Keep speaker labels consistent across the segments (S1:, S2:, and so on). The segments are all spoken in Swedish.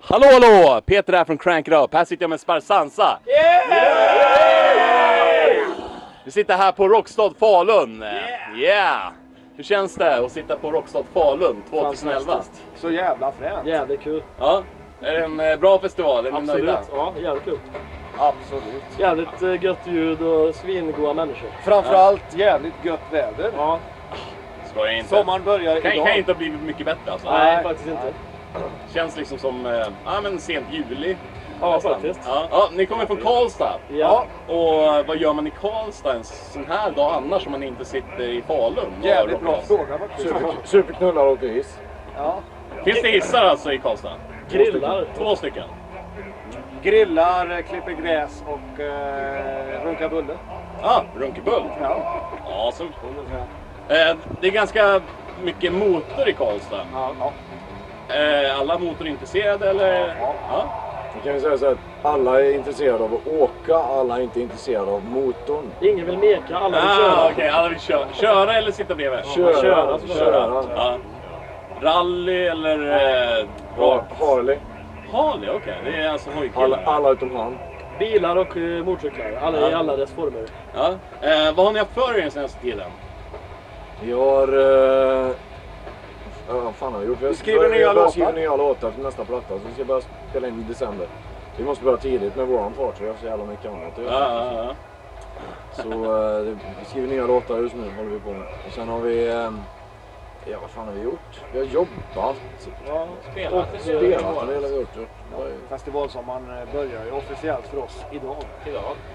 S1: Hallå hallå! Peter här från Crank It Up. Här sitter jag med Sparsansa. Vi sitter här på Rockstad Falun. Yeah! Hur känns det att sitta på Rockstad Falun 2011?
S2: Fantastiskt.
S3: Så jävla fränt.
S2: Jävligt kul.
S1: Ja. Är det en eh, bra festival? Är ni
S2: Absolut.
S1: nöjda?
S2: Ja, jävligt kul.
S3: Absolut.
S2: Jävligt eh, gött ljud och svingoa människor.
S3: Framförallt jävligt gött väder.
S2: Ja.
S1: Skojar inte.
S3: Sommaren börjar
S1: Kan,
S3: idag.
S1: kan inte ha blivit mycket bättre alltså.
S2: Nej, faktiskt inte.
S1: Känns liksom som, eh, ja men sent juli.
S2: Ja,
S1: nästan.
S2: faktiskt.
S1: Ja. Ja, ni kommer från Karlstad.
S2: Ja.
S1: Och eh, vad gör man i Karlstad en sån här dag annars om man inte sitter i Falun? och
S3: Jävligt bra
S1: rockas?
S3: fråga faktiskt.
S4: Superknullar och åker hiss.
S3: Ja.
S1: Finns det hissar alltså i Karlstad?
S2: Grillar.
S1: Två stycken?
S3: Grillar, eh, klipper gräs och eh, runkar bulle.
S1: Ja, Runkebull.
S3: Ja.
S1: Awesome. Eh, det är ganska mycket motor i Karlstad.
S3: Ja.
S1: Eh, alla motorintresserade eller? Ja.
S4: Vi kan ju säga så här att alla är intresserade av att åka, alla är inte intresserade av motorn.
S2: Ingen vill meka, alla vill
S1: Ah,
S2: köra.
S1: Okej, alla vill köra. Köra eller sitta bredvid?
S4: Köra,
S2: köra,
S3: alltså.
S2: så
S4: köra.
S1: Ja. Rally eller eh,
S4: Ja,
S1: rak?
S4: Harley.
S1: Harley, okej. Det är alltså
S4: Alla,
S1: hojkillar.
S4: alla utom han.
S2: Bilar och eh, motorcyklar. Alla, I alla dess former.
S1: Ja. Eh, vad har ni haft för er den senaste tiden?
S4: Vi har... eh, Ja, vad fan har vi gjort? Vi har
S3: Vi skriver nya
S4: vi har bara
S3: låtar.
S4: skrivit nya låtar till nästa platta som vi ska börja spela in i december. Vi måste börja tidigt med våran part, så vi har så jävla mycket annat
S1: Ja,
S4: att göra.
S1: ja, ja.
S4: Så eh, det- vi skriver nya låtar just nu, håller vi på med. Och sen har vi... eh, Ja, vad fan har vi gjort? Vi har jobbat,
S1: Spelat.
S4: spelat, det har vi gjort. Det var ju-
S3: Festivalsommaren eh, börjar ju officiellt för oss idag.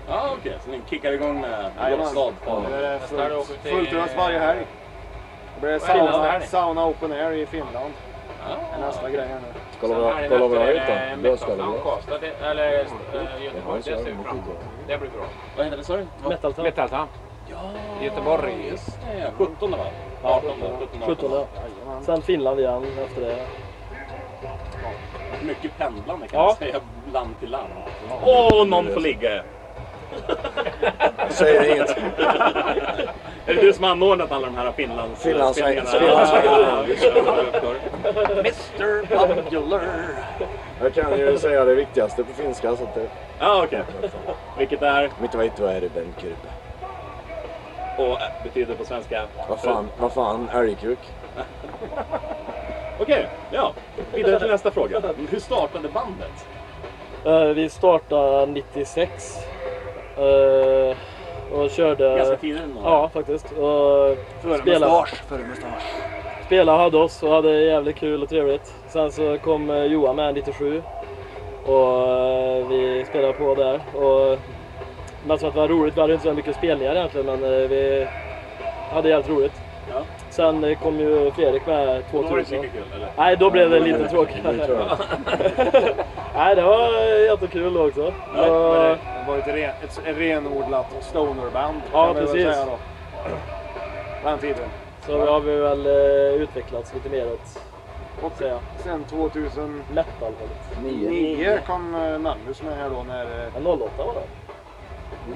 S1: Ja, okej. Så ni kickar igång eh, med
S3: Jajamän.
S1: Rockstad?
S4: Ja.
S3: Nu är det
S5: Nästa åker vi
S3: fullt,
S5: till-
S3: fullt ös varje helg. Det blir
S5: nästa
S3: sauna,
S5: helg?
S3: sauna open air i Finland.
S1: Ja.
S3: är nästa grej här nu.
S4: Kolla vad kolla vad jag har
S5: eh,
S4: hittat.
S5: Metaltown
S4: Dödskalle.
S5: Karlstad, det- eller eh, Göteborg, det ser ju bra Det blir bra.
S1: Vad heter det, sa du?
S2: Metaltown.
S5: Metaltown.
S1: Ja,
S5: Göteborg.
S1: Just det, 17 va? 18, 17, 18.
S2: 17 Sen Finland igen efter det.
S1: Mycket pendlande kan
S2: Ja.
S1: man säga, land till land. Åh, någon får ligga!
S4: Säger inget.
S1: Är det du som har anordnat alla de här Finlands
S4: Finlandssvängarna.
S1: Ja,
S4: Jag kan ju säga det viktigaste på finska så att det...
S1: ja okej. Vilket är,
S4: Mitt vet vad är det bänkrype?
S1: och betyder på svenska?
S4: Vad fan, vad fan, älgkuk?
S1: Okej, ja. Vidare till nästa fråga. Hur startade bandet?
S2: Eh, vi startade 96. eh, och körde...
S1: Ganska tidigt ändå.
S2: Ja, faktiskt. Och spelade,
S3: före mustasch.
S2: spelade hade oss och hade jävligt kul och trevligt. Sen så kom eh, Johan med 97 och eh, vi spelade på där. Och mest för att det var roligt. Vi hade inte så mycket spelningar egentligen men eh, vi hade jävligt roligt.
S1: Ja.
S2: Sen eh, kom ju Fredrik med
S1: Då var det inte
S2: 2000.
S1: lika kul eller?
S2: Nej, då blev det lite tråkigt.
S4: Det tror jag.
S2: Nej, det var jättekul också.
S1: Ja, det var det.
S3: Det var ju ett, ren, ett, ett renodlat stonerband.
S2: Ja,
S3: kan vi väl
S2: precis.
S3: säga då. Den tiden.
S2: Så har vi väl eh, utvecklats lite mer åt
S3: Och
S2: Säga.
S3: sen 2009
S2: metalhållet.
S4: Nio.
S3: kom eh, Magnus med här då när... eh,
S2: Men 08 var det.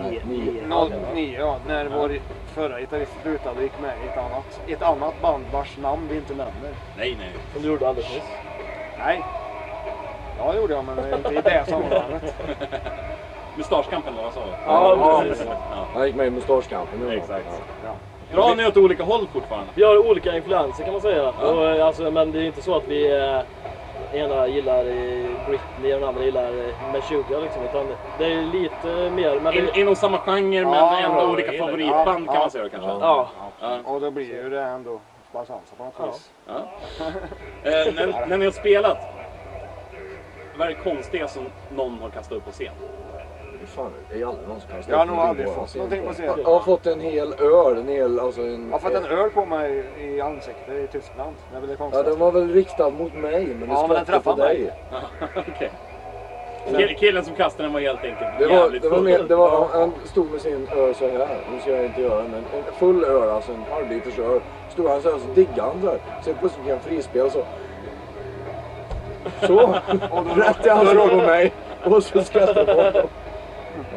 S4: Nej, nio.
S3: 09 ja, när vår förra gitarrist slutade och gick med i ett annat, ett annat band vars namn vi inte nämner.
S1: Nej, nej.
S2: Som du gjorde alldeles nyss.
S3: Nej. Ja, det gjorde jag, men inte i det sammanhanget.
S1: Mustaschkampen eller vad sa du?
S4: Ja,
S2: precis.
S1: Ja,
S4: Han gick med i mustaschkampen nu.
S1: Exakt.
S3: Ja.
S1: Drar ni åt olika håll fortfarande?
S2: Vi har olika influenser kan man säga.
S1: Ja.
S2: Och, eh, alltså, men det är inte så att vi eh, ena gillar eh, Britney och den andra gillar eh, Meshuggah liksom. Utan det är lite mer. Men
S1: In,
S2: det,
S1: inom samma genre men
S3: Ja,
S1: ändå
S3: ja,
S1: olika
S3: ja,
S1: favoritband
S3: ja,
S1: kan
S3: ja.
S1: man säga då, kanske?
S2: ja.
S1: Ja.
S3: Och då blir ju det ändå Sparsansa på något vis.
S1: Ja. eh, när, när ni har spelat, vad är det konstiga som någon har kastat upp på scen?
S4: Hur fan, det är ju aldrig någon som kan stå
S3: Jag har
S4: upp
S3: nog
S4: med
S3: aldrig
S4: ribban
S3: fått
S4: sen.
S3: någonting på scen.
S4: Jag har fått en hel öl, en hel, alltså en...
S3: Jag har fått en öl på mig i ansiktet i Tyskland. Det är väl det
S4: Ja,
S3: konstigaste.
S4: den var väl riktad mot mig, men det
S3: Ja, men den
S4: skvätte på
S3: träffade mig.
S4: dig.
S1: Okej. Kill- Killen som kastade den var helt enkelt
S4: Det var,
S1: jävligt
S4: det var,
S1: full.
S4: mer, det var han stod med sin öl så här. Nu ska jag inte göra det, men en full öl, alltså en halvliters öl. Stod han så här så diggade han så här. Sen plötsligt kan frispel så. Så! Rätt i ansiktet på mig. Och så skrattade jag på honom.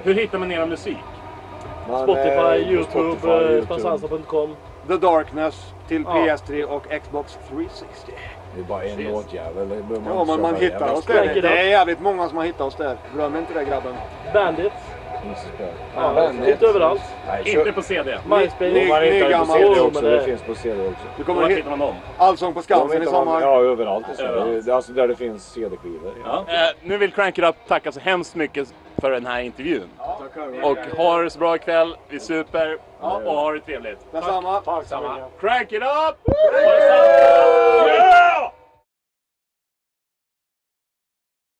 S1: Hur hittar man era musik?
S4: Man, eh,
S2: Spotify,
S4: Spotify,
S2: Youtube, eh, spansansa.com.
S3: The Darkness till
S2: Ja.
S3: PS3 och Xbox 360.
S4: Det är bara en
S5: Precis.
S4: låtjävel. Det behöver
S3: Ja, men
S4: köpa
S3: man
S4: en
S3: hittar
S4: jävla
S3: oss där.
S2: Crank it
S3: Det är
S2: up.
S3: jävligt många som har hittat oss där. Glöm inte det grabben.
S2: Bandit.
S4: spelningsspel.
S2: Ja,
S4: Bandit.
S2: Lite överallt.
S4: Nej, kör-
S1: Inte på CD.
S3: Ny,
S2: MySpace.
S4: Man hittar det på
S3: nygammal.
S4: CD
S2: Jo,
S4: också.
S2: men det-
S4: Det finns på CD också.
S3: Du kommer
S1: Vart
S3: att
S1: hittar
S3: hitta
S1: man dem?
S3: Allsång på
S4: De
S3: Skansen i
S4: hittar man-
S3: sommar.
S4: Ja, överallt i Sverige.
S1: Överallt.
S4: Det- Alltså där det finns CD-skivor.
S1: Eh, nu vill Crank It Up tacka så hemskt mycket för den här intervjun. Och ha det så bra ikväll. Vi super och ha det trevligt.
S3: Detsamma.
S1: Crank It Up!
S3: Yeah!